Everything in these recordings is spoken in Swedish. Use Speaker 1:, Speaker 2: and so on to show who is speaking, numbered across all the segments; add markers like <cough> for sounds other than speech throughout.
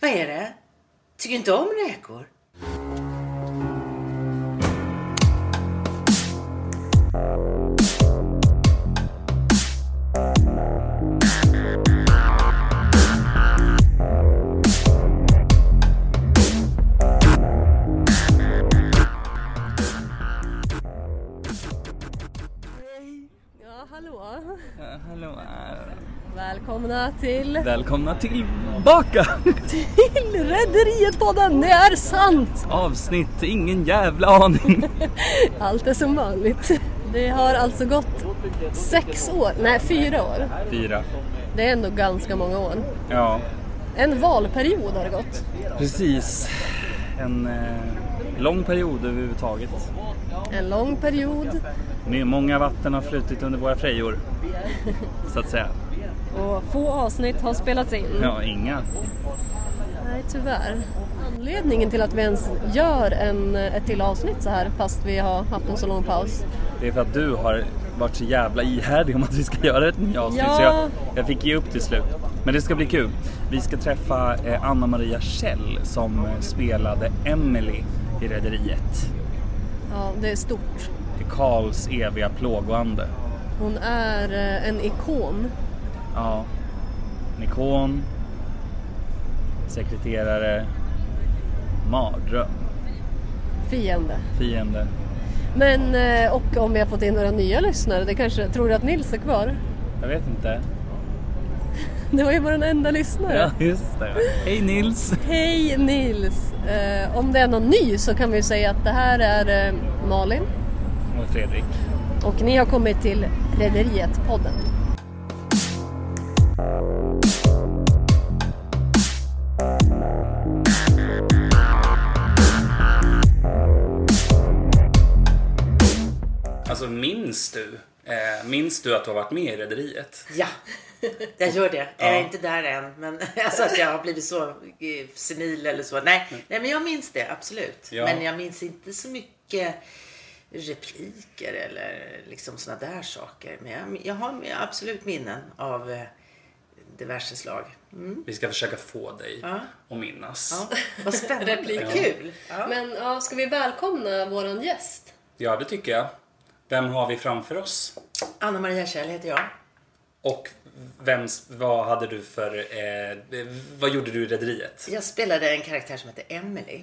Speaker 1: Vad är det? Tycker inte om räkor?
Speaker 2: Ja, hallå.
Speaker 3: Ja, Hallå.
Speaker 2: Välkomna till,
Speaker 3: Välkomna tillbaka!
Speaker 2: till Rederiet-podden. Det är sant!
Speaker 3: Avsnitt, ingen jävla aning.
Speaker 2: Allt är som vanligt. Det har alltså gått sex år, nej fyra år.
Speaker 3: Fyra.
Speaker 2: Det är ändå ganska många år.
Speaker 3: Ja,
Speaker 2: En valperiod har det gått.
Speaker 3: precis. En eh, lång period överhuvudtaget.
Speaker 2: En lång period
Speaker 3: Med Många vatten har flutit under våra frejor. Så att säga.
Speaker 2: och få avsnitt har spelats in.
Speaker 3: Ja, inga.
Speaker 2: Nej, tyvärr. Anledningen till att vi ens gör en, ett till avsnitt så här fast vi har haft en så lång paus
Speaker 3: Det är för att du har varit så jävla ihärdig om att vi ska göra ett nytt avsnitt.
Speaker 2: Ja.
Speaker 3: Så jag, jag fick ge upp till slut. Men det ska bli kul. Vi ska träffa eh, Anna Maria Kjell som eh, spelade Emily i Rederiet.
Speaker 2: Ja, det är stort.
Speaker 3: Karls eviga plågoande.
Speaker 2: Hon är eh, en ikon.
Speaker 3: Ja. En ikon. Sekreterare. Mardröm.
Speaker 2: Fiende.
Speaker 3: Fiende.
Speaker 2: Men, eh, och om vi har fått in några nya lyssnare, det kanske, tror du att Nils är kvar? <laughs>
Speaker 3: Jag vet inte.
Speaker 2: Det var ju vår enda lyssnare.
Speaker 3: Ja, just det. Hej Nils!
Speaker 2: Hej Nils! Eh, om det är någon ny så kan vi ju säga att det här är eh, Malin
Speaker 3: Och Fredrik.
Speaker 2: och ni har kommit till Rederiet-podden.
Speaker 3: Alltså minns du? Eh, minns du att du har varit med i Rederiet?
Speaker 1: Ja, jag gör det. Jag är
Speaker 3: Ja.
Speaker 1: inte där än. Men <laughs> alltså att jag har blivit så eh, senil eller så. Nej, nej men jag minns det absolut.
Speaker 3: Mm. Ja.
Speaker 1: Men jag minns inte så mycket repliker eller liksom såna där saker. Men jag, jag har absolut minnen av eh, diverse slag. Mm.
Speaker 3: Vi ska försöka få dig att minnas.
Speaker 1: Ja, vad
Speaker 3: <laughs>
Speaker 1: spännande.
Speaker 2: Repliker.
Speaker 1: Vad kul. Ja.
Speaker 2: Men ja, ska vi välkomna våran gäst?
Speaker 3: Ja, det tycker jag. Vem har vi framför oss?
Speaker 1: Anna Maria Kjell heter jag.
Speaker 3: Och vems, vad hade du för, eh, vad gjorde du i Rederiet?
Speaker 1: Jag spelade en karaktär som hette Emily.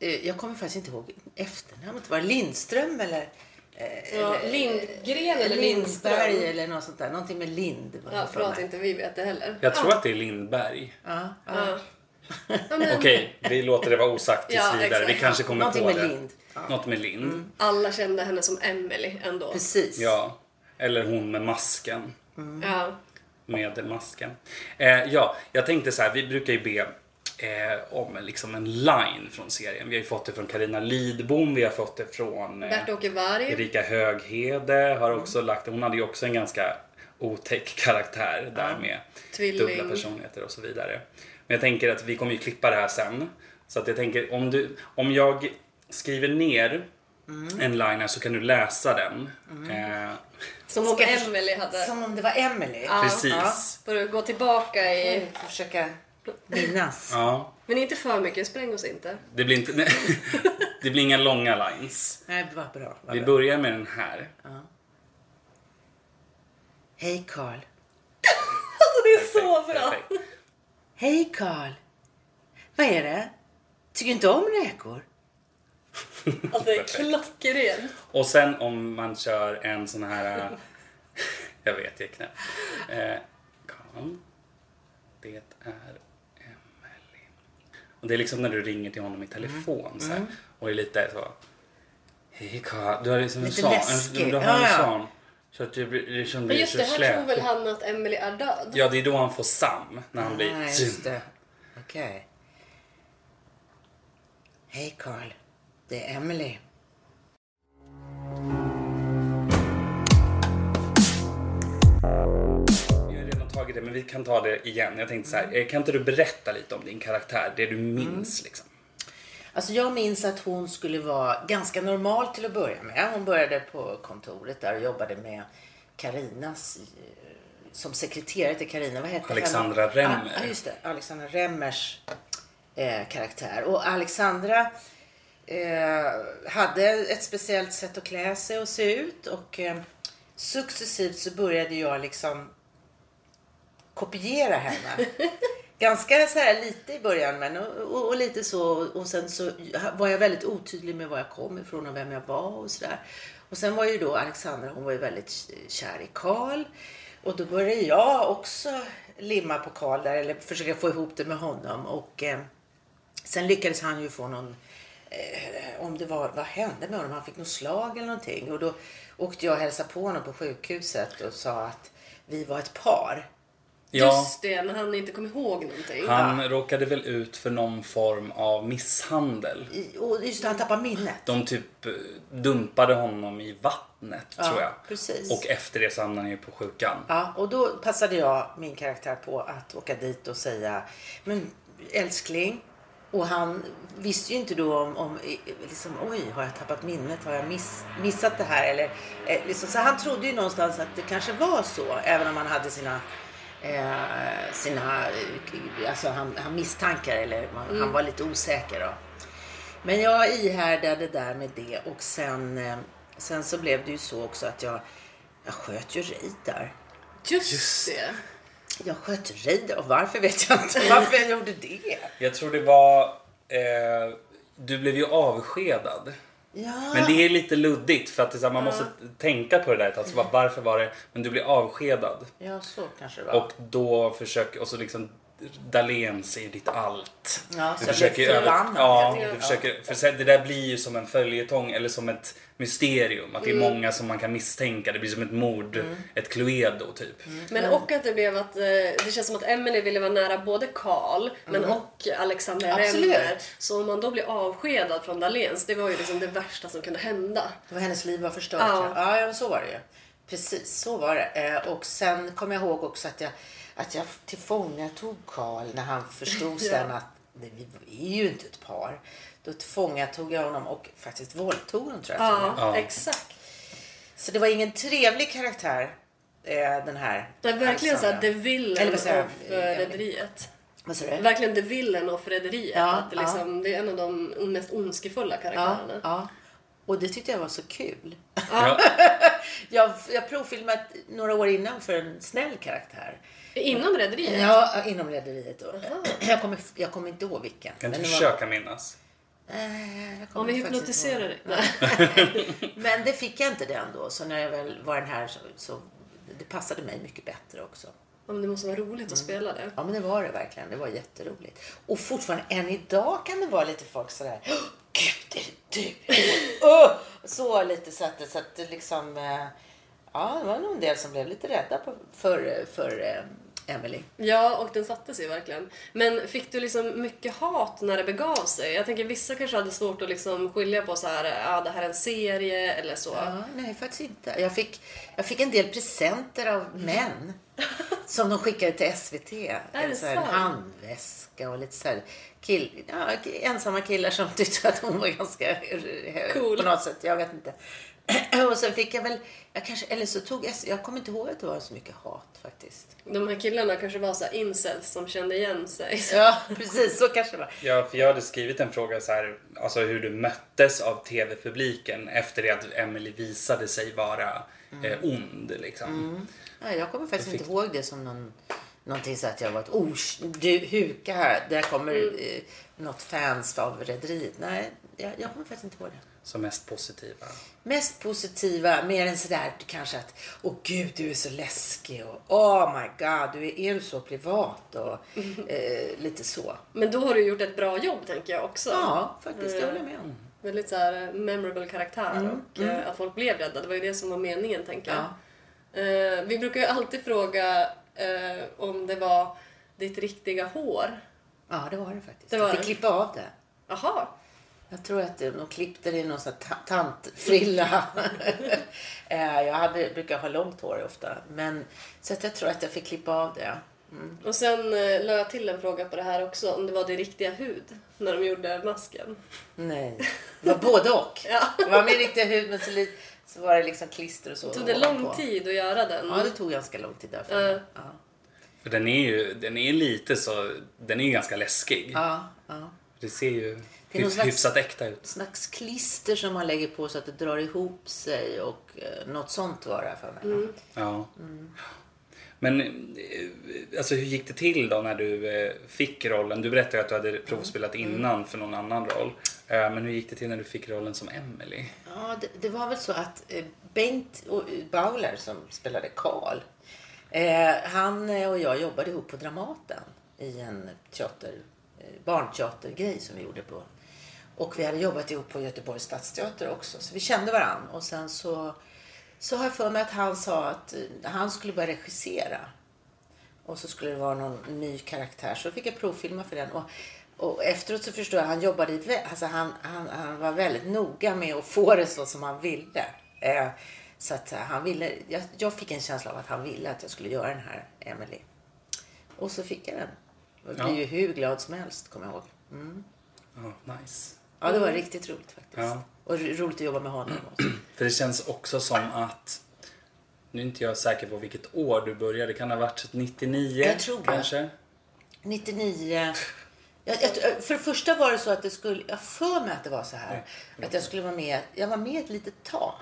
Speaker 1: Eh, Jag kommer faktiskt inte ihåg efternamnet. Var det Lindström eller? eh,
Speaker 2: Ja,
Speaker 1: eller-
Speaker 2: Lindgren eller
Speaker 1: Lindberg
Speaker 2: Lindström?
Speaker 1: eller något sånt där. Någonting med Lind. var
Speaker 2: Ja,
Speaker 1: det för
Speaker 2: förlåt,
Speaker 1: mig.
Speaker 2: inte vi vet det heller.
Speaker 3: Jag tror att det är Lindberg.
Speaker 1: Ja, ja.
Speaker 2: Ja. Ja, men
Speaker 3: Okej,
Speaker 2: <laughs>
Speaker 3: vi låter det vara osagt tills
Speaker 2: Ja,
Speaker 3: vidare. Vi
Speaker 2: exakt. Mm.
Speaker 3: kanske kommer
Speaker 1: Någonting
Speaker 3: på
Speaker 1: med
Speaker 3: det.
Speaker 1: Lind. Ja.
Speaker 3: Något med Lind.
Speaker 2: Alla kände henne som Emily ändå.
Speaker 1: Precis.
Speaker 3: Ja. Eller hon med masken.
Speaker 2: Ja.
Speaker 3: Med masken. Eh, ja, jag tänkte så här. Vi brukar ju be eh, om liksom en line från serien. Vi har ju fått det från Karina Lidbom. Vi har fått det från eh,
Speaker 2: Bert-Åke Varg.
Speaker 3: Erika Höghede. Har också
Speaker 2: Mm.
Speaker 3: lagt, hon hade ju också en ganska otäck karaktär där med
Speaker 2: Tvilling.
Speaker 3: dubbla personligheter och så vidare. Men jag tänker att vi kommer ju klippa det här sen. Så att jag tänker om, du, om jag skriver ner
Speaker 2: Mm.
Speaker 3: en line här så kan du läsa den. Eh,
Speaker 2: Som om
Speaker 1: Ska jag-
Speaker 2: Emily hade.
Speaker 1: Som om det var Emily.
Speaker 3: precis.
Speaker 2: Får du gå tillbaka i...
Speaker 1: Jag får försöka minnas.
Speaker 3: Ja.
Speaker 2: Men inte för mycket, spräng oss inte.
Speaker 3: Det blir inte... <laughs> nej. det blir inga långa lines.
Speaker 1: Nej, vad bra. Vad
Speaker 3: Vi
Speaker 1: bra.
Speaker 3: börjar med den här.
Speaker 1: Hej Carl.
Speaker 2: Alltså det är så bra!
Speaker 3: Perfekt.
Speaker 1: Hej Carl. Vad är det? Tycker inte om räkor?
Speaker 2: Alltså
Speaker 3: <laughs>
Speaker 2: det är klockrent.
Speaker 3: Och sen om man kör en sån här... äh, <laughs> Jag vet, jag är knäpp. Eh, Karl, det är Emily. Och det är liksom när du ringer till honom i telefon
Speaker 1: Mm.
Speaker 3: så här, och är lite så... Hej Karl. Du har liksom en
Speaker 1: Lite
Speaker 3: sån.
Speaker 1: läskig.
Speaker 3: En, du har en
Speaker 1: Ja, ja.
Speaker 3: sån. Så att du blir- liksom
Speaker 2: Men
Speaker 3: blir
Speaker 2: just
Speaker 3: så
Speaker 2: det, här tror
Speaker 3: slät.
Speaker 2: väl han att Emily är död?
Speaker 3: Ja, det är då han får Sam. När han blir...
Speaker 1: Nej, Ah, just det. Okej. Hej Carl. Det är Emily.
Speaker 3: Jag har redan tagit det, men vi kan ta det igen. Jag tänkte så
Speaker 1: Mm.
Speaker 3: här, eh, kan inte du berätta lite om din karaktär, det du minns liksom?
Speaker 1: Alltså jag minns att hon skulle vara ganska normal till att börja med. Hon började på kontoret där och jobbade med Karinas eh, som sekreterare till Karina. Vad hette
Speaker 3: Alexandra
Speaker 1: henne?
Speaker 3: Remmer.
Speaker 1: Ah, ah, just det. Alexandra Remmers eh, karaktär. Och Alexandra eh, hade ett speciellt sätt att klä sig och se ut och eh, successivt så började jag liksom kopiera henne. <laughs> Ganska så här lite i början men och, och, och lite så och sen så var jag väldigt otydlig med var jag kom ifrån och vem jag var och sådär. Och sen var ju då Alexandra, hon var ju väldigt kär i Karl och då började jag också limma på Karl där eller försöka få ihop det med honom och eh, sen lyckades han ju få någon eh, om det var, vad hände med honom? Han fick något slag eller någonting och då åkte jag och hälsade på honom på sjukhuset och sa att vi var ett par.
Speaker 3: Ja,
Speaker 4: Just det, när han inte kom ihåg någonting.
Speaker 3: han råkade väl ut för någon form av misshandel.
Speaker 1: I- Och just det, han tappade minnet.
Speaker 3: De typ eh, dumpade honom i vattnet tror jag.
Speaker 1: precis.
Speaker 3: Och efter det så hamnade han ju på sjukan.
Speaker 1: Ja, och då passade jag min karaktär på att åka dit och säga Men älskling. Och han visste ju inte då om, om liksom, oj, har jag tappat minnet? Har jag miss, missat det här? Eller, eh, liksom, så han trodde ju någonstans att det kanske var så, även om han hade sina, eh, sina eh, alltså han, han misstankar eller man, han var lite osäker. Då. Men jag ihärdade där med det och sen, eh, sen så blev det ju så också att jag, jag sköt ju Reidar.
Speaker 2: Just, det.
Speaker 1: Jag sköt Reidar och varför vet jag inte <laughs> varför jag gjorde det.
Speaker 3: Jag tror det var... Eh, du blev ju avskedad.
Speaker 1: Ja,
Speaker 3: Men det är lite luddigt för att det är så här, man måste tänka på det där ett tag. Så bara, varför var det... Men du blev avskedad.
Speaker 1: ja så kanske det var.
Speaker 3: Och då försöker... Och så liksom... Dahléns är ditt allt.
Speaker 1: Ja, så jag
Speaker 3: du försöker
Speaker 1: blev
Speaker 3: ju över,
Speaker 1: förbannad,
Speaker 3: ja,
Speaker 1: helt enkelt.
Speaker 3: du försöker, för sen- det där blir ju som en följetong eller som ett mysterium. Att det är
Speaker 1: Mm.
Speaker 3: många som man kan misstänka. Det blir som ett mord, ett Cluedo typ.
Speaker 1: Mm.
Speaker 2: Men och att det blev att eh, det känns som att Emily ville vara nära både Karl men och Alexandra
Speaker 1: Absolut.
Speaker 2: Remmer. Så om man då blir avskedad från Dahléns, det var ju liksom det värsta som kunde hända.
Speaker 1: Det var hennes liv var förstört.
Speaker 2: Ja.
Speaker 1: Ja. Ja, ja, så var det ju. Precis, så var det. Eh, Och sen kom jag ihåg också att jag, att jag tillfångatog Karl när han
Speaker 2: <laughs>
Speaker 1: förstod sen att nej, vi är ju inte ett par. Då tillfångatog jag honom och faktiskt våldtog honom tror jag. till och
Speaker 2: Ja,
Speaker 1: med.
Speaker 3: Ja.
Speaker 2: exakt.
Speaker 1: Så det var ingen trevlig karaktär eh, den här.
Speaker 2: Det är verkligen såhär the
Speaker 1: Alexandra.
Speaker 2: villain
Speaker 1: Eller vad säger jag?
Speaker 2: of eh, rederiet.
Speaker 1: Vad sa du?
Speaker 2: Verkligen the villain of rederiet.
Speaker 1: Ja,
Speaker 2: att det, liksom, det är en av de mest ondskefulla
Speaker 1: Ja,
Speaker 2: karaktärerna.
Speaker 1: ja. Och det tyckte jag var så kul. Ah.
Speaker 3: Ja.
Speaker 1: Jag jag provfilmat några år innan för en snäll karaktär.
Speaker 2: Inom rederiet?
Speaker 1: Ja, inom rederiet då. <clears throat> Jag kommer, jag kommer inte ihåg vilken.
Speaker 3: Kan du
Speaker 1: det
Speaker 3: försöka minnas?
Speaker 1: Var, eh, jag kommer
Speaker 2: Om vi
Speaker 1: faktiskt inte
Speaker 2: hypnotiserar
Speaker 1: ihåg.
Speaker 2: dig. Nej.
Speaker 1: <laughs> Men det fick jag inte den då. Så när jag väl var den här så, så det passade mig mycket bättre också.
Speaker 2: Ja, men det måste vara roligt
Speaker 1: Mm.
Speaker 2: att spela det.
Speaker 1: Ja men det var det verkligen. Det var jätteroligt. Och fortfarande än idag kan det vara lite folk sådär. "Åh, Gud är det du? <laughs> Åh! så lite så att, det- så att det liksom. eh, Ja det var nog en del som blev lite rädda på, för, för eh, Emily.
Speaker 2: Ja, och den satte sig verkligen. Men fick du liksom mycket hat när det begav sig? Jag tänker vissa kanske hade svårt att liksom skilja på så här, ja ah, det här är en serie eller så.
Speaker 1: Ja, nej, faktiskt inte. Jag fick, jag fick en del presenter av män som de skickade till SVT.
Speaker 2: det
Speaker 1: en, så här, en
Speaker 2: sant?
Speaker 1: handväska och lite så här kill, ja, ensamma killar som <laughs> tyckte att hon var ganska
Speaker 2: Cool.
Speaker 1: på något sätt. Jag vet inte. <clears throat> och sen fick jag väl, jag kanske, eller så tog S, jag kommer inte ihåg att det var så mycket hat faktiskt.
Speaker 2: De här killarna kanske var så här incels som kände igen sig.
Speaker 1: Ja, precis så kanske det var.
Speaker 3: Ja, för jag hade skrivit en fråga så här, alltså hur du möttes av tv-publiken efter det att Emily visade sig vara
Speaker 1: Mm.
Speaker 3: eh, ond liksom.
Speaker 1: Ja, jag kommer faktiskt inte ihåg det som någon, någonting så att jag var ett ors, du huka här, där kommer
Speaker 2: Mm.
Speaker 1: eh, något fans av rederiet. Nej, jag, jag kommer faktiskt inte ihåg det.
Speaker 3: Som mest positiva.
Speaker 1: Mest positiva, mer än sådär kanske att åh gud du är så läskig och oh my god du är, är du så privat och
Speaker 2: Mm.
Speaker 1: eh, lite så.
Speaker 2: Men då har du gjort ett bra jobb tänker jag också.
Speaker 1: Ja, faktiskt,
Speaker 2: Mm.
Speaker 1: jag håller med om.
Speaker 2: Väldigt så här eh, memorable karaktär
Speaker 1: Mm.
Speaker 2: och eh, att folk blev rädda. Det var ju det som var meningen tänker jag.
Speaker 1: Ja.
Speaker 2: Eh, vi brukar ju alltid fråga eh, om det var ditt riktiga hår.
Speaker 1: Ja, det var det faktiskt.
Speaker 2: Det var
Speaker 1: jag fick
Speaker 2: det.
Speaker 1: klippa av det.
Speaker 2: Jaha,
Speaker 1: Jag tror att det- de klippte det i någon sån här ta- tantfrilla. <laughs> Eh, jag hade, brukar ha långt hår ofta. Men, så att jag tror att jag fick klippa av det.
Speaker 2: Och sen eh, la jag till en fråga på det här också, om det var din riktiga hud när de gjorde masken.
Speaker 1: Nej, det var både och.
Speaker 2: Ja.
Speaker 1: Det var min riktiga hud men så, li- så var det liksom klister och så.
Speaker 2: Tog det
Speaker 1: ovanpå.
Speaker 2: lång tid att göra den?
Speaker 1: Ja, det tog ganska lång tid därför.
Speaker 2: Ja.
Speaker 1: Ja.
Speaker 3: För den är ju den är lite så, den är ju ganska läskig.
Speaker 1: Ja, ja.
Speaker 3: Det ser ju
Speaker 1: Det är någon
Speaker 3: hyf-
Speaker 1: slags-
Speaker 3: hyfsat äkta ut.
Speaker 1: Slags klister som man lägger på så att det drar ihop sig och eh, något sånt var det för mig.
Speaker 3: Ja.
Speaker 1: Mm.
Speaker 3: Men eh, alltså, hur gick det till då när du eh, fick rollen? Du berättade ju att du hade provspelat
Speaker 1: Mm.
Speaker 3: innan för någon annan roll. Eh, Men hur gick det till när du fick rollen som Emily?
Speaker 1: Ja, det, det var väl så att eh, Bengt och eh, Bauler som spelade Karl, eh, han eh, och jag jobbade ihop på Dramaten i en teater, eh, barnteatergrej som vi gjorde på. Och vi hade jobbat ihop på Göteborgs stadsteater också, så vi kände varandra. Och sen så, så har jag för mig att han sa att eh, han skulle börja regissera. Och så skulle det vara någon ny karaktär. Så fick jag provfilma för den. Och, och efteråt så förstår jag att han jobbade i, vä- alltså han, han, han var väldigt noga med att få det så som han ville. Eh, så att eh, han ville, jag, jag fick en känsla av att han ville att jag skulle göra den här Emily. Och så fick jag den. Och jag blev
Speaker 3: Ja.
Speaker 1: ju hur glad som helst, kommer jag ihåg.
Speaker 3: Ja, nice.
Speaker 1: Ja, det var riktigt roligt faktiskt.
Speaker 3: Mm. Ja.
Speaker 1: Och ro- roligt att jobba med honom också.
Speaker 3: För det känns också som att nu är inte jag säker på vilket år du började. Det kan ha varit 99
Speaker 1: Jag tror det.
Speaker 3: kanske?
Speaker 1: 99... Jag, jag, för det första var det så att det skulle... Jag för mig att det var så här. Att jag skulle vara med... Jag var med ett litet tag.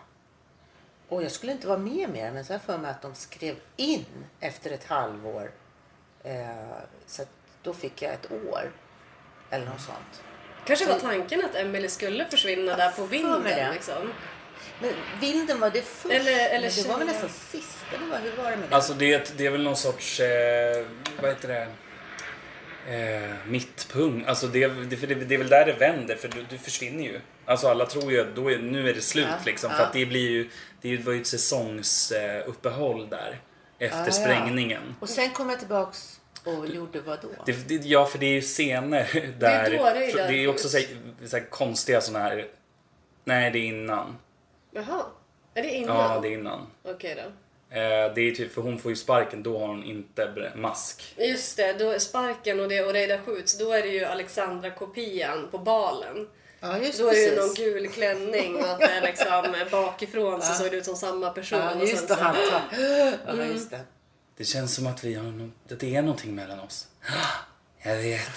Speaker 1: Och jag skulle inte vara med mer. Men så har jag för mig att de skrev in efter ett halvår. Eh, så att då fick jag ett år. Eller något sånt.
Speaker 2: Kanske var tanken att Emily skulle försvinna där på
Speaker 1: för mig
Speaker 2: vinden
Speaker 1: det.
Speaker 2: liksom.
Speaker 1: Men vinden var det först.
Speaker 2: Eller- eller
Speaker 1: men det var väl
Speaker 2: tjejer.
Speaker 1: nästan sist. Eller vad, hur var det med det?
Speaker 3: Alltså det är, ett- det är väl någon sorts, eh, vad heter det, eh, mittpunkt. Alltså det, det, för det, det är väl där det vänder för du, du försvinner ju. Alltså alla tror ju att då är, nu är det slut
Speaker 1: Ja,
Speaker 3: liksom. För
Speaker 1: ja.
Speaker 3: att det blir ju, det är ju- det var ju ett säsongsuppehåll där. Efter
Speaker 1: Ah, ja.
Speaker 3: sprängningen.
Speaker 1: Och sen kom jag tillbaks och gjorde vad då?
Speaker 3: Det, det, ja, för det är ju scener <laughs> där...
Speaker 2: då det är
Speaker 3: för, det är ju
Speaker 2: där
Speaker 3: också så
Speaker 2: först.
Speaker 3: här, så här konstiga sådana här... Nej, det är innan.
Speaker 2: Jaha, är det innan?
Speaker 3: Ja, det är innan.
Speaker 2: Okej då.
Speaker 3: Eh, det är typ, för hon får ju sparken, då har hon inte bre- mask.
Speaker 2: Just det, då är sparken och det och Reidar skjuts, då är det ju Alexandra-kopian på balen.
Speaker 1: ja, just
Speaker 2: Då är det ju någon
Speaker 1: precis.
Speaker 2: gul klänning och att det är liksom bakifrån så såg det ut som samma person.
Speaker 1: Ja,
Speaker 2: och
Speaker 1: just
Speaker 2: sen
Speaker 1: det.
Speaker 2: så- Mm.
Speaker 1: Han tar... Ja, just det.
Speaker 3: Det känns som att vi har no- att det är någonting mellan oss. <gasps> Jag vet.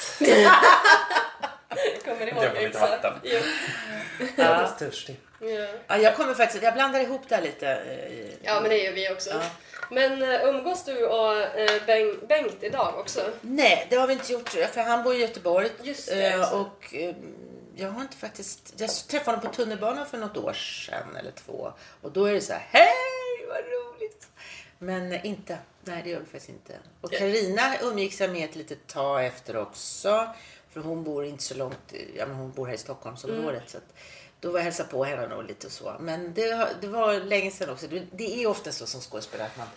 Speaker 2: Kommer ni ihåg
Speaker 3: Jag får lite
Speaker 2: exakt?
Speaker 3: vatten.
Speaker 2: Ja.
Speaker 3: Jag är alldeles törstig.
Speaker 2: Ja.
Speaker 1: Ja, jag kommer faktiskt, jag blandar ihop det här lite. eh,
Speaker 2: ja, men det gör vi också. Men eh, umgås du och eh, Beng- Bengt idag också?
Speaker 1: Nej, det har vi inte gjort tror jag, för han bor i Göteborg.
Speaker 2: Just det,
Speaker 1: eh,
Speaker 2: just det.
Speaker 1: Och eh, jag har inte faktiskt, jag träffade honom på tunnelbanan för något år sedan eller två. Och då är det så här, hej vad roligt. Men eh, inte, nej det gör vi faktiskt inte. Och Karina umgicks jag med ett litet tag efter också. För hon bor inte så långt, ja men hon bor här i Stockholmsområdet. Så att då var jag hälsade på henne och lite och så. Men det, har- det var länge sedan också. Det, det är ofta så som skådespelare att man,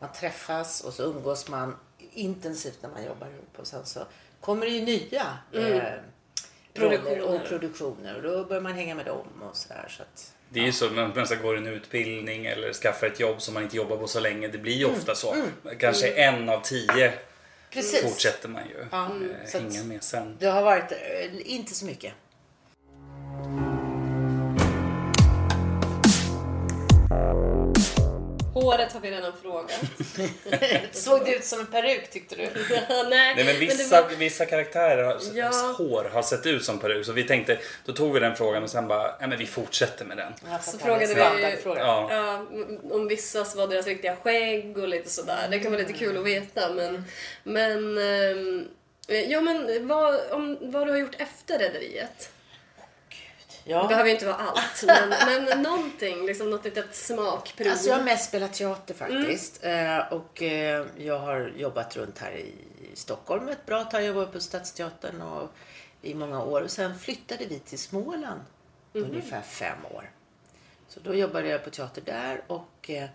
Speaker 1: man träffas och så umgås man intensivt när man jobbar ihop. Och sen så kommer det ju nya eh, produktioner.
Speaker 2: Produktioner.
Speaker 1: och produktioner. Och då börjar man hänga med dem och sådär. Så att,
Speaker 3: Det är ju så, men man ska gå en utbildning eller skaffa ett jobb som man inte jobbar på så länge. Det blir ju ofta så. Kanske en av tio
Speaker 1: Mm. precis.
Speaker 3: fortsätter man ju
Speaker 1: Ja, mm.
Speaker 3: eh,
Speaker 1: så att-
Speaker 3: hänga med sen.
Speaker 1: Det har varit eh, inte så mycket.
Speaker 2: Håret har vi redan frågat.
Speaker 1: Såg det ut som en peruk tyckte du?
Speaker 2: <laughs> Nej,
Speaker 3: Nej men
Speaker 2: det
Speaker 3: vissa,
Speaker 2: var-
Speaker 3: vissa karaktärer har,
Speaker 2: Ja.
Speaker 3: hår har sett ut som peruk så vi tänkte, då tog vi den frågan och sen bara, nej men vi fortsätter med den.
Speaker 1: Så
Speaker 2: frågade vi-
Speaker 3: Ja.
Speaker 2: Ja, m- om vissa så var deras riktiga skägg och lite sådär. Det kan vara lite kul att veta men... Men... ehm, Ja men vad, om, vad du har gjort efter Rederiet? Det
Speaker 1: Ja.
Speaker 2: behöver ju inte
Speaker 1: <laughs>
Speaker 2: vara allt men, men någonting, liksom något litet smakprov.
Speaker 1: Alltså jag har mest spelat teater faktiskt. Eh, Och eh, jag har jobbat runt här i Stockholm ett bra tag. Jag jobbade på Stadsteatern och i många år. Och sen flyttade vi till Småland ungefär fem år. Så då jobbade jag på teater där. Och, eh,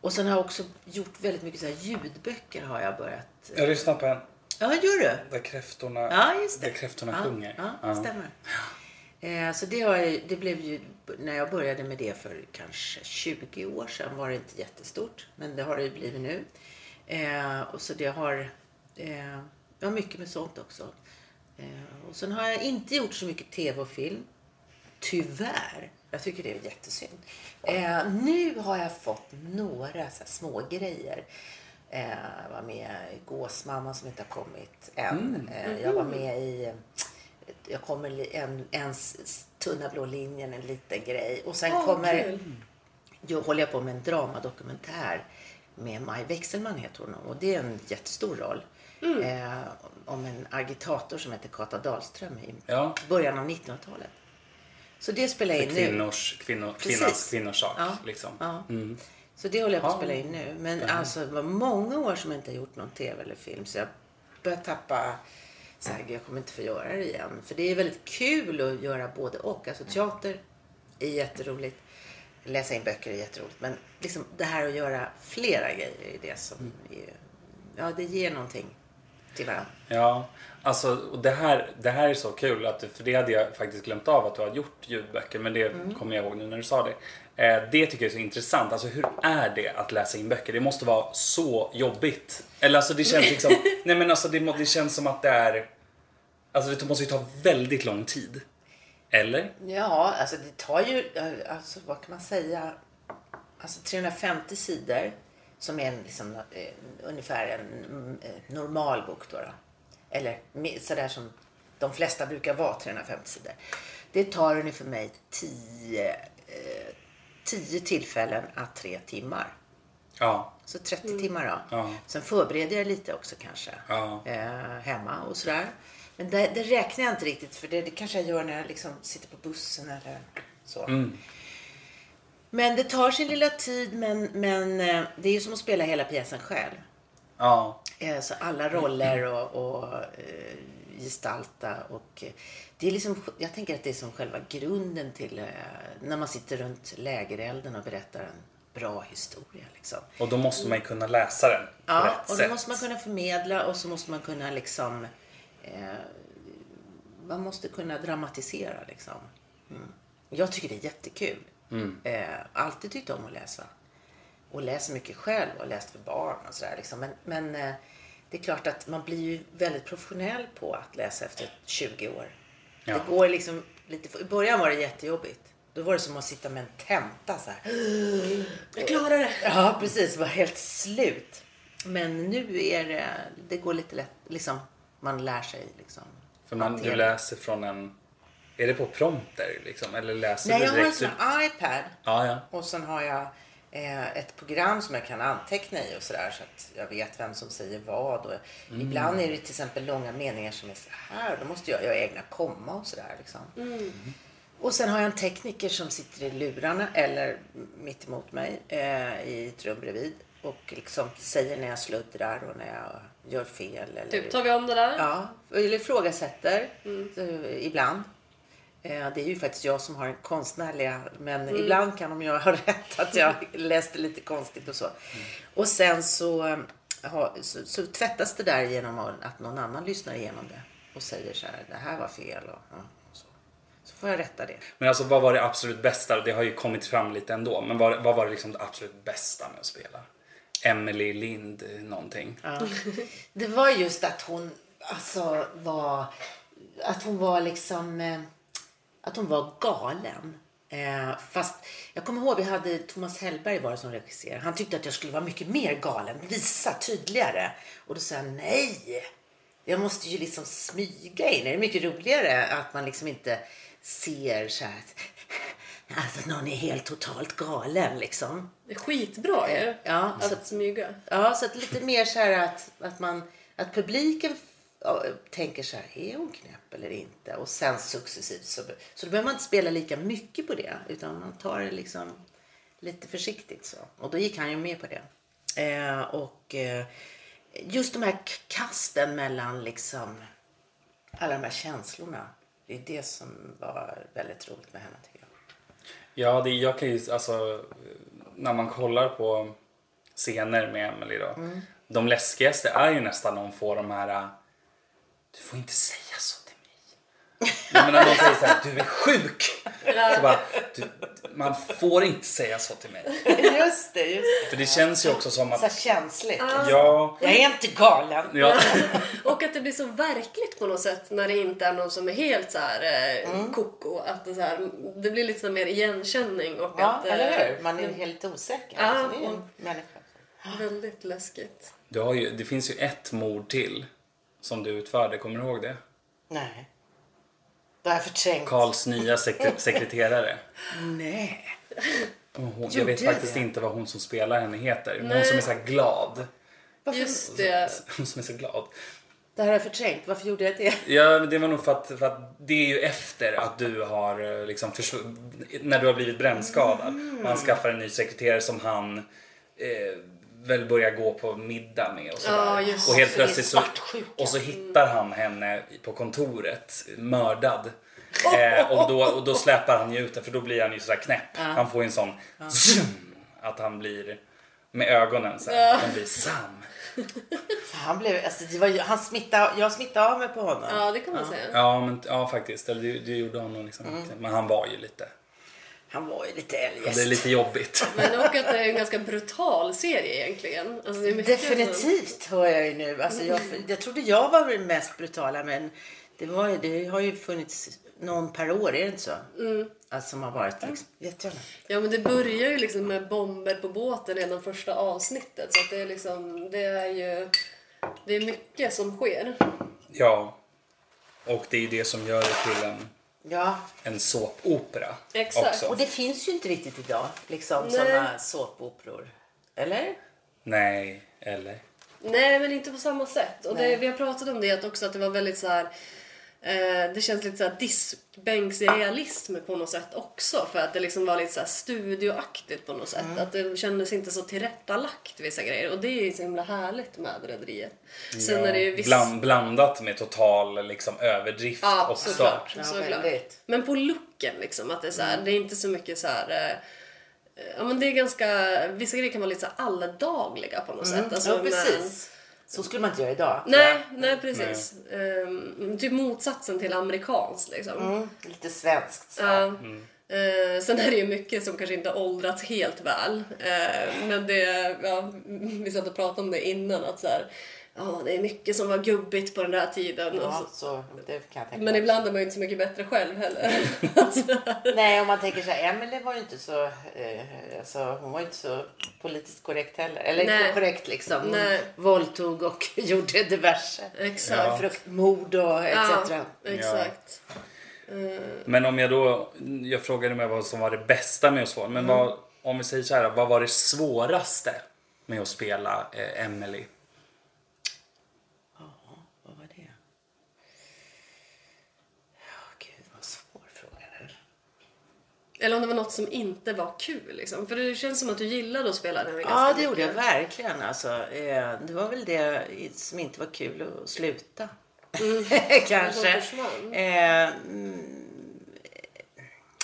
Speaker 1: och sen har jag också gjort väldigt mycket så här ljudböcker har jag börjat.
Speaker 3: Jag lyssnar på en
Speaker 1: Ja, gör du?
Speaker 3: där kräftorna,
Speaker 1: Ja, just det.
Speaker 3: Där kräftorna
Speaker 1: ja,
Speaker 3: sjunger.
Speaker 1: Ja, stämmer. Eh, Så det, har jag, det blev ju, när jag började med det för kanske 20 år sedan var det inte jättestort. Men det har det ju blivit nu. Eh, och så det har, eh, jag har mycket med sånt också. Eh, och sen har jag inte gjort så mycket tv och film. Tyvärr. Jag tycker det är jättesynd. Eh, nu har jag fått några så här, små grejer. Eh, var med i Gåsmamman som inte har kommit
Speaker 2: Mm.
Speaker 1: än. Eh, jag var med i jag kommer li- en, en s- s- tunna blå linjen, en liten grej. Och sen
Speaker 2: Åh,
Speaker 1: kommer
Speaker 2: kul.
Speaker 1: då håller jag på med en dramadokumentär med Maj Wechselmann heter hon och det är en jättestor roll.
Speaker 2: Mm.
Speaker 1: Eh, om en agitator som heter Kata Dahlström i
Speaker 3: Ja.
Speaker 1: början av 1900-talet. Så det spelar jag in nu.
Speaker 3: Kvinnors, kvinnor,
Speaker 1: Precis.
Speaker 3: kvinnans, kvinnors sak.
Speaker 1: Ja.
Speaker 3: Liksom.
Speaker 1: Ja. Så det håller jag på att
Speaker 3: Ja.
Speaker 1: spela in nu. Men alltså det var många år som jag inte har gjort någon tv eller film så jag börjar tappa så här, "Gud, jag kommer inte få göra det igen. För det är väldigt kul att göra både och. Alltså teater är jätteroligt. Läsa in böcker är jätteroligt. Men liksom det här att göra flera grejer är det som
Speaker 3: Mm.
Speaker 1: är, ja det ger någonting till varandra.
Speaker 3: Ja, alltså och det här, det här är så kul, att, för det hade jag faktiskt glömt av att du har gjort ljudböcker, men det
Speaker 1: Mm.
Speaker 3: kommer jag ihåg nu när du sa det. Eh, det tycker jag är så intressant, alltså hur är det att läsa in böcker? Det måste vara så jobbigt. Eller alltså det
Speaker 1: <laughs>
Speaker 3: känns liksom, nej men alltså det, må- det känns som att det är, alltså det måste ju ta väldigt lång tid. Eller?
Speaker 1: Ja, alltså det tar ju, eh, alltså vad kan man säga, alltså 350 sidor som är en, liksom, eh, ungefär en mm, eh, normal bok då. då. Eller mi- sådär som de flesta brukar vara, 350 sidor. Det tar ungefär för mig 10 eh, 10 tillfällen att tre timmar.
Speaker 3: Ja.
Speaker 1: Så 30 timmar då.
Speaker 3: Ja.
Speaker 1: Sen förbereder jag lite också kanske.
Speaker 3: Ja.
Speaker 1: Eh, hemma och sådär. Men det, det räknar jag inte riktigt för det, det kanske jag gör när jag liksom sitter på bussen eller så.
Speaker 3: Mm.
Speaker 1: Men det tar sin lilla tid men, men eh, det är ju som att spela hela pjäsen själv.
Speaker 3: Ja.
Speaker 1: Eh, Så alla
Speaker 3: Mm.
Speaker 1: roller och, och eh, gestalta och eh, det är liksom, jag tänker att det är som själva grunden till eh, när man sitter runt lägerelden och berättar en bra historia. Liksom.
Speaker 3: Och då måste man ju kunna läsa den på
Speaker 1: Ja,
Speaker 3: rätt
Speaker 1: och då
Speaker 3: sätt.
Speaker 1: måste man kunna förmedla och så måste man kunna liksom eh, man måste kunna dramatisera liksom. Mm. Jag tycker det är jättekul.
Speaker 3: Mm.
Speaker 1: Eh, alltid tyckt om att läsa. Och läser mycket själv och läst för barn och sådär liksom. Men, men eh, det är klart att man blir ju väldigt professionell på att läsa efter 20 år.
Speaker 3: Ja.
Speaker 1: Det går liksom lite, i början var det jättejobbigt. Då var det som att sitta med en tenta så här.
Speaker 2: Jag klarar det.
Speaker 1: Ja, precis. Var helt slut. Men nu är det, det går lite lätt, liksom, man lär sig liksom.
Speaker 3: För man, du
Speaker 1: hantera.
Speaker 3: läser från en, är det på prompter liksom? Eller läser
Speaker 1: Nej,
Speaker 3: du
Speaker 1: jag har en
Speaker 3: direkt? typ-
Speaker 1: sån här iPad
Speaker 3: Ja, ja.
Speaker 1: och sen har jag eh, ett program som jag kan anteckna i och sådär så att jag vet vem som säger vad. Och Ibland är det till exempel långa meningar som är så här. Då måste jag göra egna komma och sådär liksom. Och sen har jag en tekniker som sitter i lurarna eller mitt emot mig eh, i ett rum bredvid och liksom säger när jag sluddrar och när jag gör fel. Eller...
Speaker 2: Typ, tar vi om det där?
Speaker 1: Ja, eller ifrågasätter eh, ibland. Eh, Det är ju faktiskt jag som har den konstnärliga, men ibland kan de ju ha <laughs> rätt att jag läste lite konstigt och så. Och sen så, eh, ha, så, så tvättas det där genom att någon annan lyssnar igenom det och säger så här, det här var fel och, ja, och så. Så får jag rätta det.
Speaker 3: Men alltså vad var det absolut bästa? Det har ju kommit fram lite ändå. Men vad, vad var det liksom det absolut bästa med att spela? Emily Lind eh, någonting.
Speaker 1: Det var just att hon alltså var att hon var liksom eh, att hon var galen. Eh, fast jag kommer ihåg vi hade Thomas Hellberg var det som regisserade. Han tyckte att jag skulle vara mycket mer galen, visa tydligare. Och då sa jag nej. Jag måste ju liksom smyga in. Det är mycket roligare att man liksom inte ser så här att alltså, någon är helt totalt galen liksom.
Speaker 2: Det är skitbra ju.
Speaker 1: Ja, så
Speaker 2: Att smyga.
Speaker 1: Ja, så att lite mer så här att, att, man, att publiken ja, tänker så här, är hon knäpp eller inte? Och sen successivt så, så då behöver man inte spela lika mycket på det utan man tar det liksom lite försiktigt så. Och då gick han ju med på det. Eh, och eh, just de här k- kasten mellan liksom alla de här känslorna. Det är det som var väldigt roligt med henne tycker jag.
Speaker 3: Ja, det, jag kan ju alltså när man kollar på scener med Emily då.
Speaker 1: Mm.
Speaker 3: De läskigaste är ju nästan när hon får de här eh, Du får inte säga så till
Speaker 1: <laughs>
Speaker 3: mig. Nej, men när någon säger så här, du är sjuk. Så bara, du, man får inte säga så till mig.
Speaker 1: <laughs> Just det, just
Speaker 3: För det känns ju också som
Speaker 1: det. Så här
Speaker 3: att
Speaker 1: känsligt.
Speaker 3: Ja,
Speaker 1: Jag är inte galen.
Speaker 3: ja.
Speaker 2: Och att det blir så verkligt på något sätt när det inte är någon som är helt så här eh,
Speaker 1: Mm.
Speaker 2: koko. Att det, så här, det blir lite mer igenkänning och
Speaker 1: Ja,
Speaker 2: att... eh,
Speaker 1: mm. eller hur? Man är ju helt osäker.
Speaker 2: Ja,
Speaker 1: alltså, det är ju
Speaker 2: och-
Speaker 1: en människa.
Speaker 2: Väldigt läskigt.
Speaker 3: Du har ju, det finns ju ett mord till som du utförde, kommer du ihåg det?
Speaker 1: Nej. Det har jag förträngt.
Speaker 3: Karls
Speaker 1: <laughs>
Speaker 3: nya sek- sekreterare.
Speaker 1: Nej.
Speaker 3: Och Hon, jag
Speaker 1: Gjorde
Speaker 3: vet
Speaker 1: jag
Speaker 3: faktiskt
Speaker 1: det?
Speaker 3: inte vad hon som spelar henne heter. Men hon som är så här glad.
Speaker 1: Varför?
Speaker 2: Just det.
Speaker 3: Hon som är så glad.
Speaker 1: Det här har jag förträngt. Varför gjorde jag det?
Speaker 3: Ja, men det var nog för att, för att det är ju efter att du har eh, liksom försv- när du har blivit brännskadad.
Speaker 2: Mm.
Speaker 3: Och han skaffar en ny sekreterare som han eh, väl börjar gå på middag med och sådär.
Speaker 2: Ja, just
Speaker 3: och helt
Speaker 2: det.
Speaker 3: plötsligt så,
Speaker 1: Svartsjuka.
Speaker 3: och så hittar han henne på kontoret mördad.
Speaker 2: <laughs>
Speaker 3: Eh, och, då, och då släpar han ju ut den för då blir han ju sådär knäpp. Han får ju en sån zoom, att han blir med ögonen så här. Han blir Sam.
Speaker 1: <laughs> Han blev, alltså, det var, ju- han smittade, jag smittade av mig på honom.
Speaker 2: Ja, det kan man säga.
Speaker 3: Ja, men, ja faktiskt. Eller det, det gjorde honom liksom.
Speaker 2: Mm.
Speaker 3: Men han var ju lite
Speaker 1: Han var ju lite
Speaker 3: Ja,
Speaker 1: eljest.
Speaker 3: Det är
Speaker 2: <laughs>
Speaker 3: lite jobbigt.
Speaker 2: Men och att det är en ganska brutal serie egentligen. Alltså, det är mycket
Speaker 1: Definitivt hör jag ju nu. Alltså, jag, jag trodde jag var den mest brutala men det, var, ju- det har ju funnits någon per år, är det inte så? Alltså, som har varit liksom, vet jag inte.
Speaker 2: Ja men det börjar ju liksom med bomber på båten redan första avsnittet så att det är liksom, det är ju, det är mycket som sker.
Speaker 3: Ja. Och det är ju det som gör det till en,
Speaker 1: Ja,
Speaker 3: en såpopera.
Speaker 2: Exakt.
Speaker 1: och
Speaker 3: Också.
Speaker 1: det finns ju inte riktigt idag liksom
Speaker 2: Nej.
Speaker 1: sådana såpoperor. Eller?
Speaker 3: Nej, eller?
Speaker 2: Nej men inte på samma sätt och det, vi har pratat om det också att det var väldigt så här. Eh, det känns lite såhär diskbänksrealism på något sätt också för att det liksom var lite såhär studioaktigt på något sätt.
Speaker 1: Mm.
Speaker 2: Att det kändes inte så tillrättalagt vissa grejer och det är ju så himla härligt med Rederiet. Sen är det ju viss...
Speaker 3: Bland, blandat med total liksom, överdrift
Speaker 2: Ja,
Speaker 3: också.
Speaker 2: såklart.
Speaker 1: Ja,
Speaker 2: såklart.
Speaker 1: väldigt. Mm.
Speaker 2: Men på looken liksom, att det är så här, det är inte så mycket så här. eh, Ja men det är ganska, vissa grejer kan vara lite så här alldagliga på något sätt. Alltså,
Speaker 1: Mm. ja,
Speaker 2: men-
Speaker 1: precis. Så skulle man inte göra idag.
Speaker 2: Nej, nej precis. Ehm, typ motsatsen till amerikanskt liksom.
Speaker 1: Mm, lite svenskt. Så.
Speaker 2: Ja. Eh, sen är det ju mycket som kanske inte har åldrats helt väl. Eh, men det, ja, vi satt och pratade om det innan att så här, ja det är mycket som var gubbigt på den där tiden. Och så,
Speaker 1: Ja, så det kan jag tänka
Speaker 2: men
Speaker 1: mig.
Speaker 2: ibland är man ju inte så mycket bättre själv heller. <laughs> Alltså,
Speaker 1: Nej, om man tänker så här, Emelie var ju inte så, eh, alltså, hon var ju inte så politiskt korrekt heller. Eller
Speaker 2: Nej.
Speaker 1: korrekt liksom. Hon
Speaker 2: Nej.
Speaker 1: våldtog och <laughs> gjorde diverse.
Speaker 2: Exakt.
Speaker 3: Ja.
Speaker 1: Frukt, mord och etc.
Speaker 2: Ja, exakt.
Speaker 3: Men om jag då, jag frågade mig vad som var det bästa med att spela. Men
Speaker 2: Mm.
Speaker 3: vad, om vi säger så här, vad var det svåraste med att spela eh, Emily?
Speaker 1: Vad var det? Ja, gud vad svår fråga det är.
Speaker 2: Eller om det var något som inte var kul. Liksom. För det känns som att du gillade att spela den här ganska
Speaker 1: Ja, det gjorde jag
Speaker 2: mycket.
Speaker 1: verkligen. Alltså, eh, det var väl det som inte var kul att sluta. Mm. <laughs> Kanske.
Speaker 2: Som försvann.
Speaker 1: Eh, mm,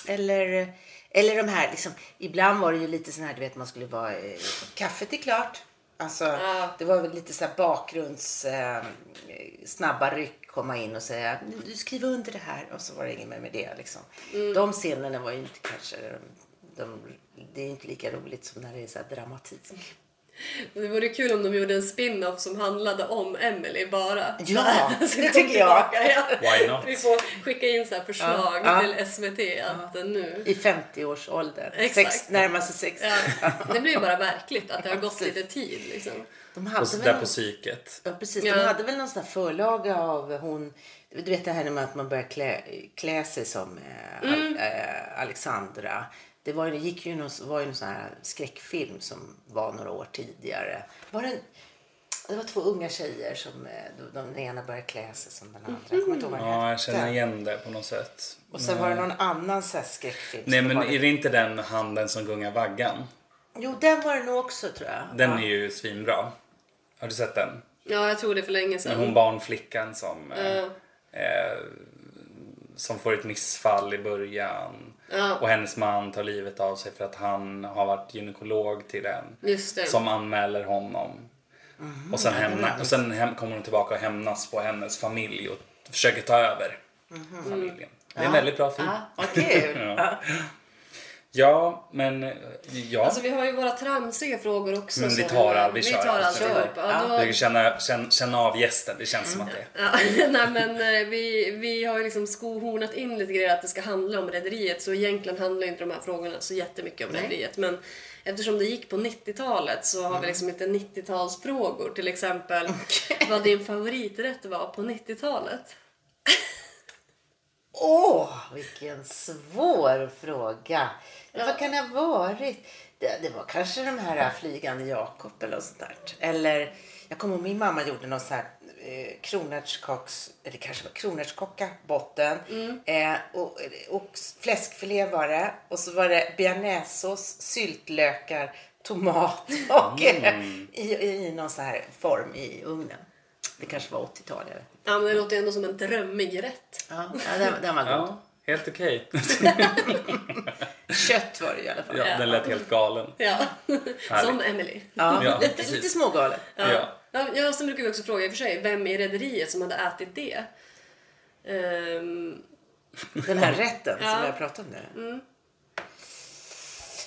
Speaker 1: eller, eller de här, liksom, ibland var det ju lite sån här, du vet man skulle vara, eh, kaffet är klart. Alltså,
Speaker 2: Ja.
Speaker 1: Det var väl lite så här bakgrunds, eh, snabba ryck, komma in och säga du skriver under det här och så var det ingen mer med det. Liksom.
Speaker 2: Mm.
Speaker 1: De scenerna var ju inte kanske, de, de, det är ju inte lika roligt som när det är så här dramatik.
Speaker 2: Det vore kul om de gjorde en spin-off som handlade om Emily bara.
Speaker 1: Ja,
Speaker 2: <laughs> Så
Speaker 1: det
Speaker 2: kom
Speaker 1: tycker jag.
Speaker 2: tillbaka, ja.
Speaker 3: Why not?
Speaker 2: Vi får skicka in så här förslag
Speaker 1: Ja, ja.
Speaker 2: till SVT att nu...
Speaker 1: I 50-årsåldern,
Speaker 2: Exakt.
Speaker 1: sex, närmar sig 60.
Speaker 2: Ja, det blir ju bara verkligt att det har gått
Speaker 1: Precis.
Speaker 2: lite tid liksom.
Speaker 1: <laughs> De hade
Speaker 3: Och
Speaker 1: väl
Speaker 3: där
Speaker 1: någon-
Speaker 3: på psyket.
Speaker 1: Ja, precis.
Speaker 2: Ja.
Speaker 1: De hade väl någon sån här förlaga av hon... Du vet det här med att man börjar klä, klä sig som eh,
Speaker 3: Mm.
Speaker 1: Al- eh, Alexandra. Det var, ju- det gick ju någon, var ju någon sån här skräckfilm som var några år tidigare. Var det, en, det var två unga tjejer som eh, de- de, den ena började klä sig som den andra. Jag kommer inte ihåg vad den
Speaker 3: Mm-hmm. Ja, jag känner
Speaker 1: hette.
Speaker 3: igen det på något sätt.
Speaker 1: Och sen var det någon annan sån här skräckfilm.
Speaker 3: Nej
Speaker 1: som
Speaker 3: men
Speaker 1: var
Speaker 3: är
Speaker 1: lite-
Speaker 3: det inte den handen som gungar vaggan?
Speaker 1: Jo, den var det nog också tror jag.
Speaker 3: Den
Speaker 1: ja.
Speaker 3: är ju svinbra. Har du sett den?
Speaker 2: Ja, jag tror det för länge
Speaker 3: När
Speaker 2: sedan.
Speaker 3: hon barnflickan som, eh, eh, som får ett missfall i början.
Speaker 2: Ja.
Speaker 3: Och hennes man tar livet av sig för att han har varit gynekolog till den.
Speaker 2: Just det. Mm.
Speaker 3: Som anmäler honom. Och sen, hämna, och sen hem, kommer hon tillbaka och hämnas på hennes familj och
Speaker 2: Mm-hmm. Mm.
Speaker 3: <laughs> försöker ta över familjen. Det är en väldigt bra film.
Speaker 1: Ja, vad kul.
Speaker 3: Ja.
Speaker 1: Ja.
Speaker 3: Ja, men eh, ja.
Speaker 2: Alltså vi har ju våra tramsiga frågor också.
Speaker 3: men vi
Speaker 2: så-
Speaker 3: tar all, vi
Speaker 2: vi
Speaker 3: kör alltså.
Speaker 2: tar
Speaker 3: allt.
Speaker 2: alltihop. Ja,
Speaker 3: Jag
Speaker 2: då,
Speaker 3: försöker känna, känna, känna av gästen, det känns som att det
Speaker 2: ja, <laughs> nej men eh, vi, vi har ju liksom skohornat in lite grejer att det ska handla om rederiet så egentligen handlar ju inte de här frågorna så jättemycket om rederiet. Men eftersom det gick på 90-talet så har vi liksom lite 90-talsfrågor. Till exempel vad din favoriträtt var på 90-talet.
Speaker 1: Åh, vilken svår fråga. Men vad kan det ha varit? Det, det var kanske de här flygande Jakob eller något sånt där. Eller, jag kommer ihåg min mamma gjorde någon sån här eh, kronärtskocks, eller kanske var kronärtskocka, botten. Eh, och, och fläskfilé var det. Och så var det bearnaisesås, syltlökar, tomat <laughs> och i, i, i någon sån här form i ugnen. Det kanske var 80-tal, jag vet inte.
Speaker 2: Ja men det låter ju ändå som en drömmig rätt.
Speaker 1: Ja, ja, den, den var god.
Speaker 3: Ja,
Speaker 1: <laughs>
Speaker 3: helt okej.
Speaker 1: Kött var det i alla fall.
Speaker 3: Ja, den lät helt galen.
Speaker 2: Ja. <laughs> Som
Speaker 3: Härligt.
Speaker 2: Emily.
Speaker 1: Ja,
Speaker 3: Ja,
Speaker 1: lite,
Speaker 3: precis.
Speaker 1: lite smågalet.
Speaker 3: Ja.
Speaker 2: Ja, ja, sen brukar vi också fråga i och för sig, vem i rederiet som hade ätit det? Ehm,
Speaker 1: Den här rätten
Speaker 2: Ja.
Speaker 1: som jag pratar om nu.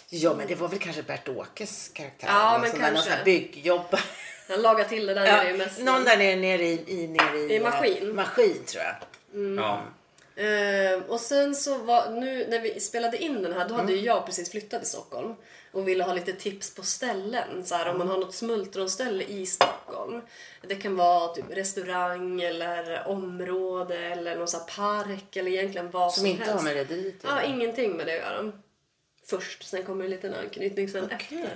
Speaker 1: Ja, men det var väl kanske Bert-Åkes karaktär. alltså,
Speaker 2: Ja,
Speaker 1: eller
Speaker 2: men
Speaker 1: sån där, Någon
Speaker 2: kanske.
Speaker 1: sån här byggjobbare.
Speaker 2: han lagade till det där
Speaker 1: Ja,
Speaker 2: nere i mässan.
Speaker 1: någon där nere, nere i, i, nere i,
Speaker 2: I
Speaker 1: eh,
Speaker 2: maskin.
Speaker 1: maskin, tror jag.
Speaker 3: Ja.
Speaker 2: Ehm, och sen så var, nu när vi spelade in den här, då
Speaker 1: Mm.
Speaker 2: hade ju jag precis flyttat till Stockholm och ville ha lite tips på ställen. Så här, om
Speaker 1: Mm.
Speaker 2: man har något smultronställe i Stockholm. Det kan vara typ restaurang eller område eller någon så här park eller egentligen vad som,
Speaker 1: Som inte
Speaker 2: helst.
Speaker 1: har med rederiet
Speaker 2: Ja, ingenting med det att göra. Först, sen kommer en liten anknytning sen efter.
Speaker 1: Okej.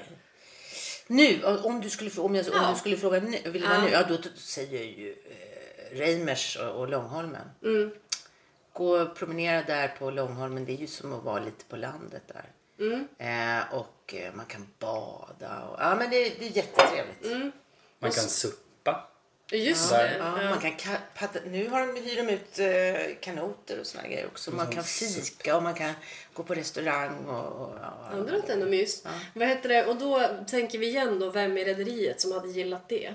Speaker 1: Nu, om du skulle, om jag, om
Speaker 2: Ja.
Speaker 1: du skulle fråga nu, vill du
Speaker 2: Ja.
Speaker 1: vara nu? Ja, då, då säger jag ju eh, Reimers och, och Långholmen. Gå och promenera där på Långholmen. Det är ju som att vara lite på landet där. Eh, och eh, man kan bada. Och, ja, men det, det är jättetrevligt.
Speaker 3: Man kan suppa.
Speaker 2: Just
Speaker 3: Ja.
Speaker 2: det.
Speaker 1: Ja, man kan ka- paddla, nu har de, hyr de ut eh, kanoter och såna grejer också.
Speaker 3: Mm,
Speaker 1: Man kan fika och man kan gå på restaurang och... och,
Speaker 2: Ja,
Speaker 1: och
Speaker 2: det låter ändå mys. Vad heter det? Och då tänker vi igen då, vem i rederiet som hade gillat det?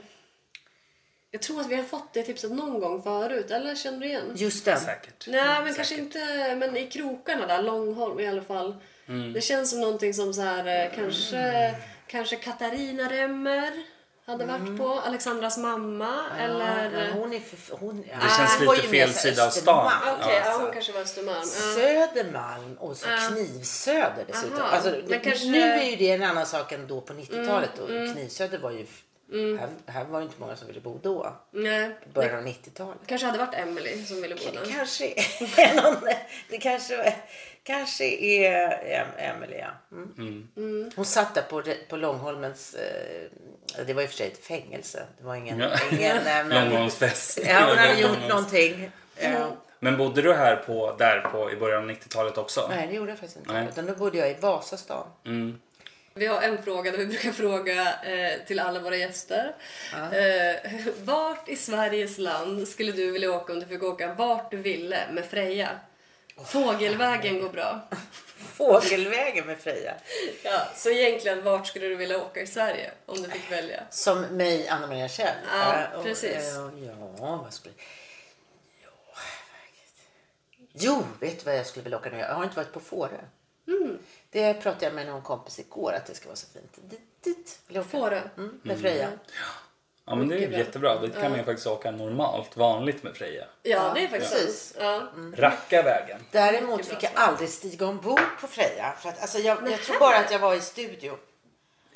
Speaker 2: Jag tror att vi har fått det tipset någon gång förut, eller känner du igen?
Speaker 1: just den.
Speaker 3: Säkert.
Speaker 2: Nej, men kanske inte, men i krokarna där, Långholm i alla fall. Det känns som någonting som så här, eh, kanske, kanske Katarina Remmer hade varit på, Alexandras mamma eller...
Speaker 1: Ja, hon är för, hon, ja,
Speaker 3: Det känns
Speaker 1: hon var
Speaker 3: lite
Speaker 1: Ah, ju
Speaker 3: fel
Speaker 1: mer så
Speaker 3: sida av stan.
Speaker 1: Östermalm,
Speaker 2: Okej, ja,
Speaker 1: alltså.
Speaker 2: hon kanske var Östermalm. Ja.
Speaker 1: Södermalm och så Knivsöder dessutom.
Speaker 2: Aha,
Speaker 1: Alltså,
Speaker 2: men
Speaker 1: det,
Speaker 2: kanske- Mm,
Speaker 1: Nu är ju det en annan sak än då på 90-talet. och Knivsöder var ju... Här, här var ju inte många som ville bo då.
Speaker 2: Nej.
Speaker 1: I början av 90-talet.
Speaker 2: Kanske hade varit Emily som ville bo
Speaker 1: K-
Speaker 2: där.
Speaker 1: Kanske är <laughs> någon, det kanske, kanske är Em- Emelie. ja. Mm. Hon satt där på, på Långholmens, eh, det var i och för sig ett fängelse. Det var ingen...
Speaker 3: Ja.
Speaker 1: ingen <laughs> eh, men,
Speaker 3: Långholmsfest.
Speaker 1: ja, hon hade
Speaker 3: <laughs> Eller
Speaker 1: gjort
Speaker 3: Långholms-
Speaker 1: någonting.
Speaker 2: Mm.
Speaker 1: Eh,
Speaker 3: Men bodde du här på, där på i början av 90-talet också?
Speaker 1: Nej, det gjorde jag faktiskt inte.
Speaker 3: Nej.
Speaker 1: Utan då bodde jag i Vasastan.
Speaker 2: Vi har en fråga där vi brukar fråga eh, till alla våra gäster. Eh, vart i Sveriges land skulle du vilja åka om du fick åka vart du ville med Freja? Fågelvägen går bra.
Speaker 1: Fågelvägen med Freja.
Speaker 2: Ja, så egentligen vart skulle du vilja åka i Sverige om du fick välja?
Speaker 1: Som mig, Anna Maria Kjell.
Speaker 2: Ja,
Speaker 1: Eh, och,
Speaker 2: precis.
Speaker 1: eh, ja, vad skulle... Ja, verkligen. jo, vet du vad jag skulle vilja åka nu? Jag har inte varit på Fårö.
Speaker 2: Mm.
Speaker 1: Det pratade jag med någon kompis igår att det ska vara så fint. Dit, dit vill jag åka.
Speaker 2: Fårö.
Speaker 1: Mm, med Freja.
Speaker 3: Ja, men det är ju
Speaker 2: Mycket bra.
Speaker 3: jättebra. Dit kan man ju faktiskt åka normalt, vanligt med Freja.
Speaker 2: Ja, Mm, det är faktiskt
Speaker 1: precis.
Speaker 2: sant. Ja.
Speaker 1: Mm.
Speaker 3: Rackarvägen.
Speaker 1: Däremot
Speaker 2: Mycket bra
Speaker 1: fick jag
Speaker 2: svar.
Speaker 1: aldrig stiga ombord på Freja. För att, alltså, jag, jag tror bara att jag var i studio.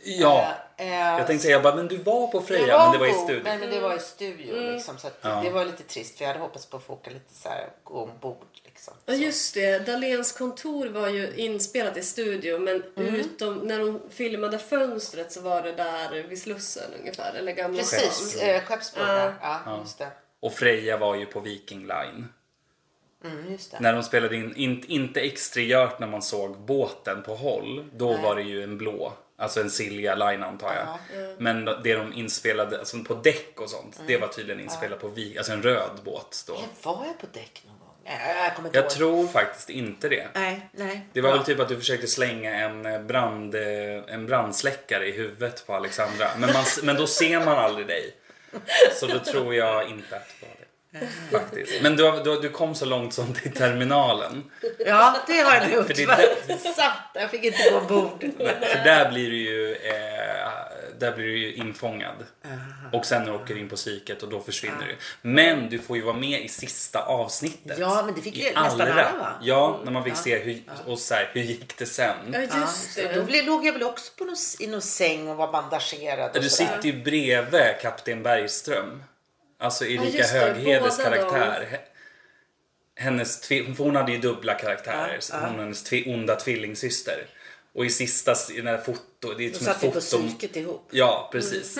Speaker 3: Ja.
Speaker 1: Eh, eh,
Speaker 3: Jag tänkte säga, jag bara, men du var på Freja,
Speaker 1: Jag
Speaker 3: men det var i
Speaker 1: på-
Speaker 3: studion.
Speaker 1: Men, men det var i studio liksom. Så att det var lite trist för jag hade hoppats på att få åka lite så här, gå ombord liksom.
Speaker 2: Ja just det, Dahléns kontor var ju inspelat i studio men utom, när de filmade fönstret så var det där vid Slussen ungefär, eller Gamla
Speaker 1: Precis,
Speaker 2: stan.
Speaker 1: eh, Skeppsbron där. ja. just det.
Speaker 3: Och Freja var ju på Viking Line.
Speaker 1: Mm, just det.
Speaker 3: När de spelade in, in inte exteriört när man såg båten på håll, då var det ju en blå. Alltså en Silja Line antar jag. Men det de inspelade, alltså på däck och sånt, det var tydligen inspelat på vi, alltså en röd båt då.
Speaker 1: Var jag på däck någon gång? Nej, jag kommer inte
Speaker 3: Jag
Speaker 1: ihåg.
Speaker 3: tror faktiskt inte det.
Speaker 1: Nej, nej.
Speaker 3: Det var väl typ att du försökte slänga en, eh, brand, eh, en brandsläckare i huvudet på Alexandra. Men, man, men då ser man aldrig dig. Så då tror jag inte att det var det. faktiskt. Men du, har- du, har- du kom så långt som till terminalen.
Speaker 1: Ja, det har jag gjort.
Speaker 3: För det är
Speaker 1: va?
Speaker 3: där-
Speaker 1: Satt, <laughs> jag fick inte gå ombord.
Speaker 3: För där blir du ju, eh, där blir du ju infångad. Och sen åker du in på psyket och då försvinner du. Men du får ju vara med i sista avsnittet.
Speaker 1: Ja, men det fick
Speaker 3: I
Speaker 1: ju nästan
Speaker 3: Allra.
Speaker 1: alla, va? Mm.
Speaker 3: Ja, när man fick se hur, och så här, hur gick det sen.
Speaker 2: Ja, just
Speaker 1: Så då
Speaker 2: det.
Speaker 1: blev, låg jag väl också på någon, i någon säng och var bandagerad. Och
Speaker 3: Du
Speaker 1: sådär.
Speaker 3: sitter ju bredvid Kapten Bergström. Alltså Erika
Speaker 2: just det,
Speaker 3: Höghedes
Speaker 2: båda
Speaker 3: karaktär. He- Hennes, tvi- för hon hade ju dubbla karaktärer. så Hon och hennes tvi, onda tvillingsyster. Och i sista, s- i den här foto, det är
Speaker 1: Då
Speaker 3: som ett
Speaker 1: satt vi på
Speaker 3: foto.
Speaker 1: psyket ihop.
Speaker 3: Ja,
Speaker 1: <laughs>
Speaker 3: precis.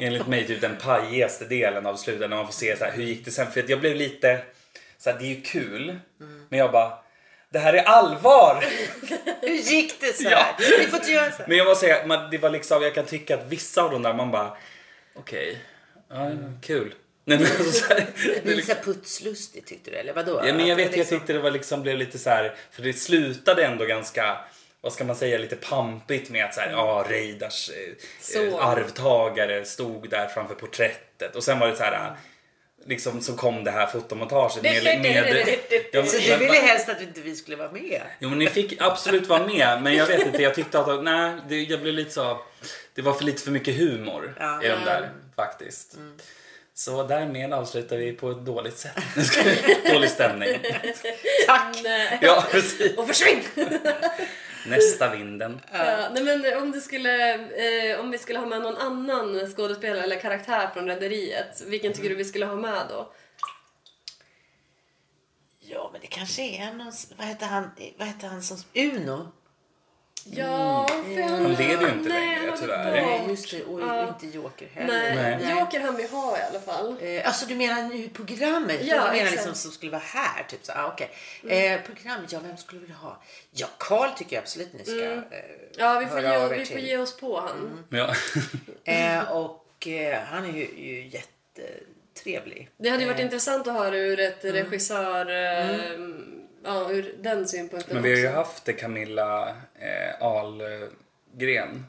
Speaker 3: Enligt mig typ den pajigaste delen av slutet när man får se så här, hur gick det sen? För att jag blev lite så här, det är ju kul.
Speaker 1: Mm.
Speaker 3: Men jag bara, det här är allvar!
Speaker 1: Hur gick det så
Speaker 3: Ja.
Speaker 1: här? Vi får inte göra så här.
Speaker 3: Men jag måste säga, man, det var liksom, jag kan tycka att vissa av de där man bara, okej, ja, kul. Nej, men, alltså, så här, det
Speaker 1: Mm. Det
Speaker 3: är
Speaker 1: är
Speaker 3: liksom,
Speaker 1: lite putslustigt tyckte du eller vadå?
Speaker 3: ja,
Speaker 1: Att
Speaker 3: men jag
Speaker 1: det
Speaker 3: vet,
Speaker 1: var
Speaker 3: jag
Speaker 1: liksom-
Speaker 3: tyckte det var liksom, blev lite så här, för det slutade ändå ganska vad ska man säga, lite pampigt med att så här,
Speaker 1: Mm.
Speaker 3: ja, Reidars eh, eh,
Speaker 2: Så.
Speaker 3: arvtagare stod där framför porträttet och sen var det så här,
Speaker 1: Mm.
Speaker 3: liksom så kom det här fotomontaget med... med Ja, men-
Speaker 1: Så du ville helst att inte vi skulle vara med?
Speaker 3: Jo men ni fick absolut vara med men jag vet inte, jag tyckte att nej, det, jag blev lite så, det var för lite för mycket humor
Speaker 1: Ja. Mm.
Speaker 3: i de där faktiskt. Så därmed avslutar vi på ett dåligt sätt. <laughs> Dålig stämning.
Speaker 1: Tack!
Speaker 2: Nej.
Speaker 3: Ja precis.
Speaker 2: Och försvinn!
Speaker 3: Nästa vinden.
Speaker 2: Ja, nej men om, du skulle, eh, om vi skulle ha med någon annan skådespelare eller karaktär från Rederiet, vilken tycker du vi skulle ha med då?
Speaker 1: Ja men det kanske är någon, vad heter han, vad heter han som, Uno?
Speaker 2: Ja, för han,
Speaker 3: Mm. Han lever ju inte
Speaker 2: nej,
Speaker 3: längre,
Speaker 2: han har gått
Speaker 3: tyvärr.
Speaker 2: bort.
Speaker 1: Nej just det, och inte Joker heller.
Speaker 2: Nej,
Speaker 3: Nej.
Speaker 2: Joker han vi ha i alla fall.
Speaker 1: Eh, Alltså du menar nu programmet?
Speaker 2: Ja,
Speaker 1: Ja, du menar
Speaker 2: exakt. Mm.
Speaker 1: liksom som skulle vara här? Typ så. Ah, okay. eh, programmet, ja vem skulle vi vilja ha? Ja, Karl tycker jag absolut ni ska.
Speaker 2: Mm. Ja, vi får,
Speaker 1: Höra av
Speaker 2: ge,
Speaker 1: er
Speaker 2: vi får
Speaker 1: till.
Speaker 2: ge oss på han.
Speaker 3: Ja.
Speaker 1: Eh, eh, och eh, han är ju, ju jättetrevlig.
Speaker 2: Det hade ju
Speaker 3: Eh.
Speaker 2: varit intressant att höra ur ett
Speaker 3: Mm.
Speaker 2: regissör... eh, Ja, ur den synpunkten
Speaker 3: <laughs> Men vi har ju
Speaker 2: också.
Speaker 3: haft det Camilla eh, Ahlgren.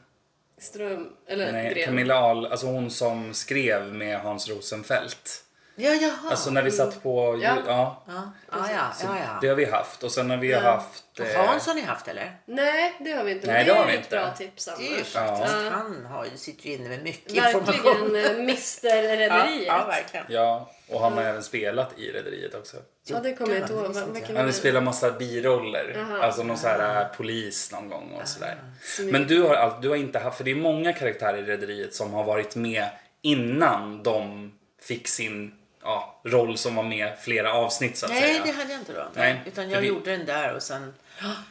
Speaker 2: Ström... Eller
Speaker 3: Nej,
Speaker 2: Gren.
Speaker 3: Camilla Ahl, alltså hon som skrev med Hans Rosenfeldt.
Speaker 1: Ja, jaha.
Speaker 3: Alltså när vi satt på...
Speaker 2: Mm. Ja.
Speaker 3: ja
Speaker 1: ja, ah, ja, ja,
Speaker 3: Det
Speaker 1: ja.
Speaker 3: har vi haft och sen har vi haft... eh,
Speaker 1: Och Hans har ni haft eller?
Speaker 2: Nej, det har vi inte. Men
Speaker 3: Nej,
Speaker 2: det
Speaker 3: det har
Speaker 2: är
Speaker 3: vi
Speaker 2: ju ett
Speaker 3: inte.
Speaker 2: bra tips
Speaker 1: Det är ju
Speaker 2: annars.
Speaker 1: faktiskt.
Speaker 2: Ja.
Speaker 1: Han har ju, sitter ju inne med mycket information.
Speaker 2: Verkligen eh,
Speaker 3: <laughs>
Speaker 2: Mr
Speaker 1: Ja,
Speaker 2: Rederiet.
Speaker 1: ja, verkligen.
Speaker 3: Ja, och han har även spelat i Rederiet också.
Speaker 2: Ja, det kommer jag inte
Speaker 1: Ja, det
Speaker 2: ihåg.
Speaker 1: visste
Speaker 2: Vad-
Speaker 1: inte
Speaker 2: vad
Speaker 1: jag.
Speaker 2: kan
Speaker 3: Han har
Speaker 2: vi-
Speaker 3: spelat massa biroller, alltså någon så här äh, polis någon gång och sådär. Men du har, allt- du har inte haft, för det är många karaktärer i Rederiet som har varit med innan de fick sin ja, roll som var med flera avsnitt så att
Speaker 1: Nej,
Speaker 3: säga.
Speaker 1: det hade jag inte då.
Speaker 3: Nej,
Speaker 1: Utan
Speaker 3: för
Speaker 1: jag
Speaker 3: vi-
Speaker 1: gjorde den där och sen...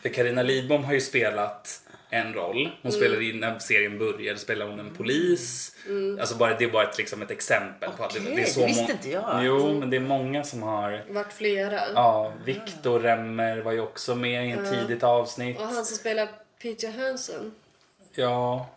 Speaker 3: För Carina Lidbom har ju spelat en roll. Hon
Speaker 1: Mm.
Speaker 3: spelade in, när serien började spelade hon en polis. Alltså bara, det är bara ett, liksom ett exempel på att det,
Speaker 1: Mm. Okej,
Speaker 3: det är så
Speaker 1: det visste
Speaker 3: må-
Speaker 1: inte jag.
Speaker 3: Jo, men det är många som har
Speaker 2: Vart flera.
Speaker 3: Ja, Viktor
Speaker 1: Ah.
Speaker 3: Remmer var ju också med i ett tidigt avsnitt.
Speaker 2: Och han som spelar Peter Hansen.
Speaker 3: Ja,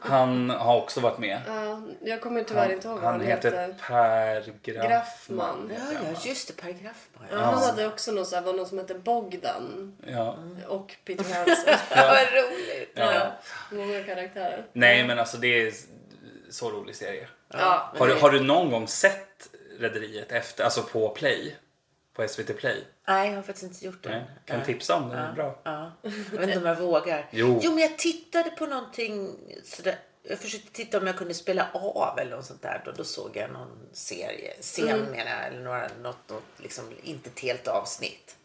Speaker 3: han har också varit med.
Speaker 2: Ja, jag kommer tyvärr inte ihåg vad
Speaker 3: Han heter Per Graffman.
Speaker 2: Graffman.
Speaker 1: Ja, ja, just det. Paragraf bara.
Speaker 2: Ja,
Speaker 1: Ja.
Speaker 2: han hade också någon, så här, var någon som hette Bogdan
Speaker 3: Ja.
Speaker 2: och Peter Hansen.
Speaker 1: <laughs> Vad roligt.
Speaker 2: ja. Många karaktärer.
Speaker 3: Nej, men alltså det är så rolig serie.
Speaker 2: Ja.
Speaker 3: Har du, har du någon gång sett Rederiet efter, alltså på Play? På SVT Play?
Speaker 1: Nej, jag har faktiskt inte gjort det.
Speaker 3: Nej. Kan
Speaker 1: Nej.
Speaker 3: tipsa om den, den är bra.
Speaker 1: Ja. Jag vet inte om jag vågar.
Speaker 3: Jo.
Speaker 1: men jag tittade på någonting sådär. Jag försökte titta om jag kunde spela av eller något sånt där. Då, då såg jag någon serie, scen menar jag, eller några, något, något liksom, inte ett helt avsnitt.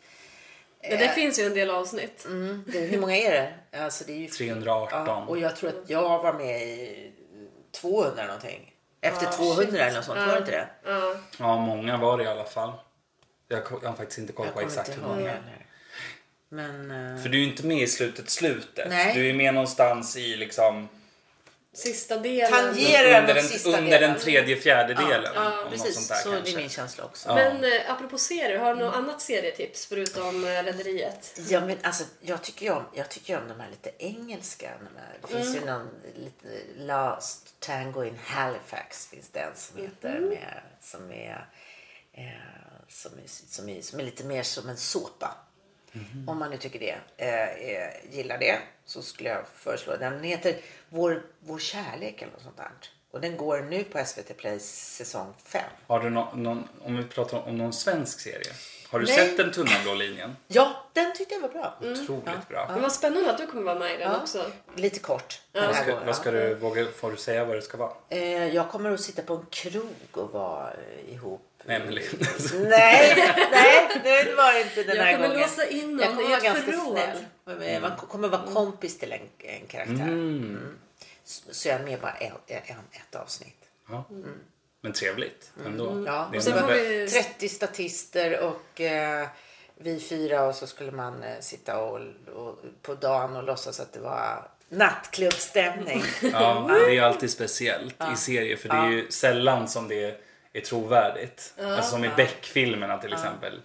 Speaker 2: Men det finns ju en del avsnitt.
Speaker 1: Det, hur många är det? Alltså, det är ju
Speaker 3: 318.
Speaker 1: Ja, och jag tror att jag var med i 200 någonting. Efter 200 eller något sånt, var det inte det?
Speaker 2: Ja.
Speaker 3: Ja, många var det i alla fall. Jag, ko- jag har faktiskt inte koll
Speaker 1: Jag
Speaker 3: på
Speaker 1: kommer
Speaker 3: exakt
Speaker 1: inte
Speaker 3: hur
Speaker 1: ihåg
Speaker 3: många.
Speaker 1: heller. Men... eh,
Speaker 3: För du är ju inte med i slutet, slutet.
Speaker 1: Nej.
Speaker 3: Du är med någonstans i liksom
Speaker 2: Sista delen.
Speaker 1: Tangerar
Speaker 3: under
Speaker 1: mot
Speaker 3: den,
Speaker 1: sista
Speaker 3: under den
Speaker 1: delen.
Speaker 3: tredje fjärdedelen.
Speaker 1: Ja,
Speaker 3: om något sånt
Speaker 1: precis.
Speaker 3: där,
Speaker 1: så det
Speaker 3: kanske.
Speaker 1: är min känsla också.
Speaker 2: Men eh, apropå serier, har du något annat serietips förutom eh, Rederiet?
Speaker 1: Ja, men alltså, jag tycker ju om, jag tycker ju om de här lite engelska. De här. Det finns ju någon lite Last Tango in Halifax finns det en som heter. Med, som, är, eh, som, är, som, är, som är lite mer som en såpa. Om man nu tycker det. Eh, eh, gillar det så skulle jag föreslå den. Den heter Vår, vår kärlek eller något sånt där. Och den går nu på SVT Play säsong 5.
Speaker 3: Har du nå- någon, om vi pratar om någon svensk serie. Har du
Speaker 1: Nej.
Speaker 3: sett Den tunna blå linjen?
Speaker 1: Ja, Mm. den tyckte jag var bra.
Speaker 3: Otroligt bra.
Speaker 2: Men vad spännande att du kommer vara med i den också.
Speaker 1: Lite kort. den
Speaker 3: Vad
Speaker 1: här
Speaker 3: ska,
Speaker 1: gången,
Speaker 3: vad ska
Speaker 1: ja.
Speaker 3: du, våga, får du säga vad det ska vara?
Speaker 1: Eh, Jag kommer att sitta på en krog och vara eh, ihop.
Speaker 3: Nämligen.
Speaker 1: Nej, nej, det var det inte den
Speaker 2: Jag
Speaker 1: här
Speaker 2: kommer
Speaker 1: gången.
Speaker 2: låsa in
Speaker 1: jag
Speaker 2: någon
Speaker 1: kommer
Speaker 2: i
Speaker 1: vara
Speaker 2: ett
Speaker 1: ganska
Speaker 2: förråd.
Speaker 1: snäll. Men Man kommer vara
Speaker 2: Mm.
Speaker 1: kompis till en, en karaktär. Mm. Så så jag är med bara en, en, ett avsnitt.
Speaker 3: <laughs> Ja. Men trevligt ändå.
Speaker 1: Mm. Ja.
Speaker 3: Det är
Speaker 1: Och
Speaker 2: Sen
Speaker 3: en
Speaker 2: får
Speaker 3: vä-
Speaker 2: vi...
Speaker 1: 30 statister och eh, vi fyra och så skulle man eh, sitta och, och, på dagen och låtsas att det var
Speaker 2: <laughs>
Speaker 1: nattklubbsstämning.
Speaker 3: Ja, det är alltid speciellt i serier för det är ju sällan som det är trovärdigt. alltså som i Beck-filmerna till exempel.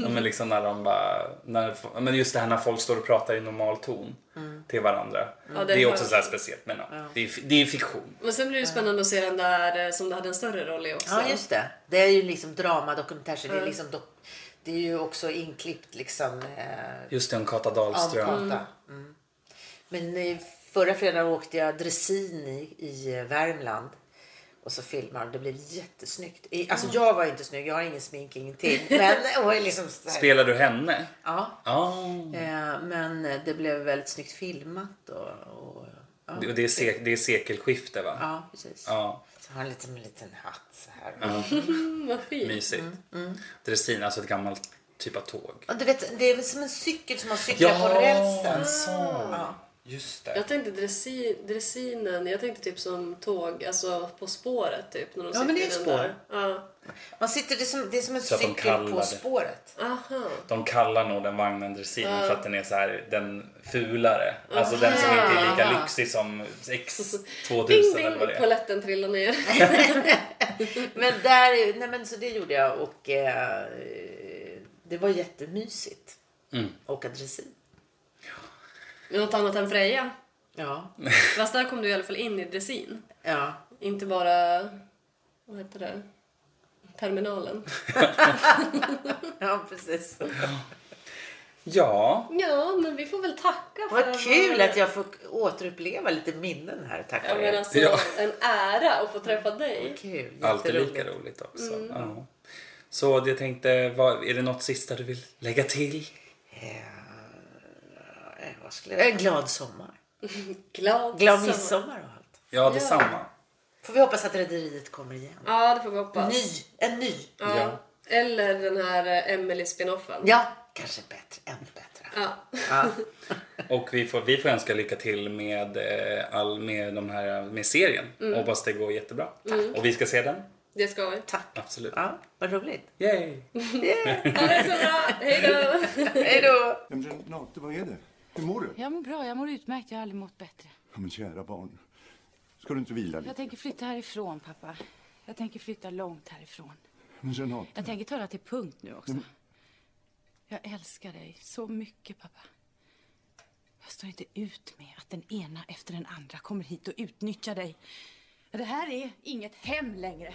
Speaker 3: Ja, men liksom när de bara, när, ja, men just det här när folk står och pratar i normal ton till varandra.
Speaker 2: Ja,
Speaker 3: det,
Speaker 2: det
Speaker 3: är
Speaker 2: har-
Speaker 3: också så här speciellt men ja, det, är, fi- det är fiktion.
Speaker 2: Men sen blir det spännande att se den där eh, som du hade en större roll i också.
Speaker 3: Alltså.
Speaker 1: Ja, just det. Det är ju liksom drama, dokumentär, så det
Speaker 3: Mm.
Speaker 1: är liksom dok- det är ju också inklippt liksom eh,
Speaker 3: Just det, om Kata
Speaker 1: Ström.
Speaker 3: Dahlström.
Speaker 1: Mm. Men eh, förra fredagen åkte jag dressin i, i eh, Värmland. Och så filmade de. Det blev jättesnyggt. I- Alltså
Speaker 3: Mm.
Speaker 1: jag var inte snygg. Jag har ingen smink, ingenting.
Speaker 3: <laughs>
Speaker 1: Men, och liksom så här,
Speaker 3: Spelar du henne?
Speaker 1: ja.
Speaker 3: Ja.
Speaker 1: Eh, Men eh, det blev väldigt snyggt filmat. Och, och, ja.
Speaker 3: Det, det, är se, det är sekelskifte va?
Speaker 1: ja, precis.
Speaker 3: Ja,
Speaker 1: Så har han lite med en liten hatt så här.
Speaker 2: Mm, vad fint.
Speaker 3: mysigt. Dressin, alltså ett gammalt typ av tåg.
Speaker 1: Och du vet, det är väl som en cykel som man cyklar på
Speaker 3: en
Speaker 1: rälsen.
Speaker 3: sån. Just det.
Speaker 2: Jag tänkte dressi, dressinen, jag tänkte typ som tåg, alltså På spåret typ. När de
Speaker 1: Ja, men
Speaker 2: sitter
Speaker 1: det är
Speaker 2: i den
Speaker 1: spår.
Speaker 2: där. Ja.
Speaker 1: Man sitter, det, är som, det är som en
Speaker 3: Så att de
Speaker 1: cykel
Speaker 3: kallar
Speaker 1: på
Speaker 3: det.
Speaker 1: spåret.
Speaker 2: Aha.
Speaker 3: De kallar nog den vagnen dressin för att den är så här, den fulare. Alltså den som inte är lika lyxig som X2000
Speaker 2: Ding
Speaker 3: eller
Speaker 2: ding,
Speaker 3: vad det är.
Speaker 2: paletten trillar ner. <laughs>
Speaker 1: Men där, nej men så det gjorde jag och eh, det var jättemysigt.
Speaker 3: Mm.
Speaker 1: Åka dressin.
Speaker 2: Något annat än Freja.
Speaker 1: Ja.
Speaker 2: Fast där kom du i alla fall in i dressin.
Speaker 1: ja.
Speaker 2: Inte bara, vad heter det, terminalen.
Speaker 1: Ja, precis.
Speaker 3: Ja,
Speaker 2: Ja, men vi får väl tacka för
Speaker 1: Vad kul att jag får återuppleva lite minnen här tack
Speaker 2: Ja,
Speaker 1: vare
Speaker 2: men
Speaker 1: er.
Speaker 2: alltså,
Speaker 3: Ja.
Speaker 2: en ära att få träffa dig.
Speaker 1: Kul.
Speaker 3: alltid
Speaker 1: jätteroligt.
Speaker 3: lika roligt också. Ja. Så jag tänkte, vad, är det något sista du vill lägga till?
Speaker 1: Eh, vad skulle jag... En glad sommar. Glad
Speaker 2: Glad, sommar.
Speaker 1: midsommar och allt.
Speaker 3: Ja, detsamma.
Speaker 1: Får vi hoppas att Rederiet kommer igen.
Speaker 2: Ja, det får vi hoppas.
Speaker 1: Ny. En ny.
Speaker 2: Ja.
Speaker 3: Ja.
Speaker 2: Eller den här eh, Emily spinoffen.
Speaker 1: Ja, kanske bättre. Ännu bättre.
Speaker 2: Ja.
Speaker 1: Ja.
Speaker 3: Och vi får, vi får önska lycka till med, eh, all, med, de här, med serien. Hoppas det går jättebra. Och vi ska se den.
Speaker 2: Det ska vi.
Speaker 1: Tack.
Speaker 3: Absolut.
Speaker 1: Ja, vad roligt.
Speaker 3: Yay!
Speaker 1: Yeah.
Speaker 2: Ha det så bra. Hej då!
Speaker 1: Hej då.
Speaker 5: Ja, men Renate, vad är det? Hur mår du?
Speaker 6: Jag mår bra, jag mår utmärkt. Jag har aldrig mått bättre.
Speaker 5: Ja, men kära barn, ska du inte vila
Speaker 6: Jag
Speaker 5: lite?
Speaker 6: tänker flytta härifrån, pappa. Jag tänker flytta långt härifrån.
Speaker 5: Men Renate,
Speaker 6: Jag tänker ta det till punkt nu också. Jag älskar dig så mycket, pappa. Jag står inte ut med att den ena efter den andra kommer hit och utnyttjar dig. Det här är inget hem längre.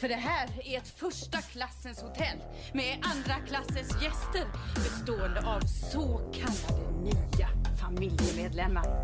Speaker 6: För det här är ett första klassens hotell med andra klassens gäster bestående av så kallade nya familjemedlemmar.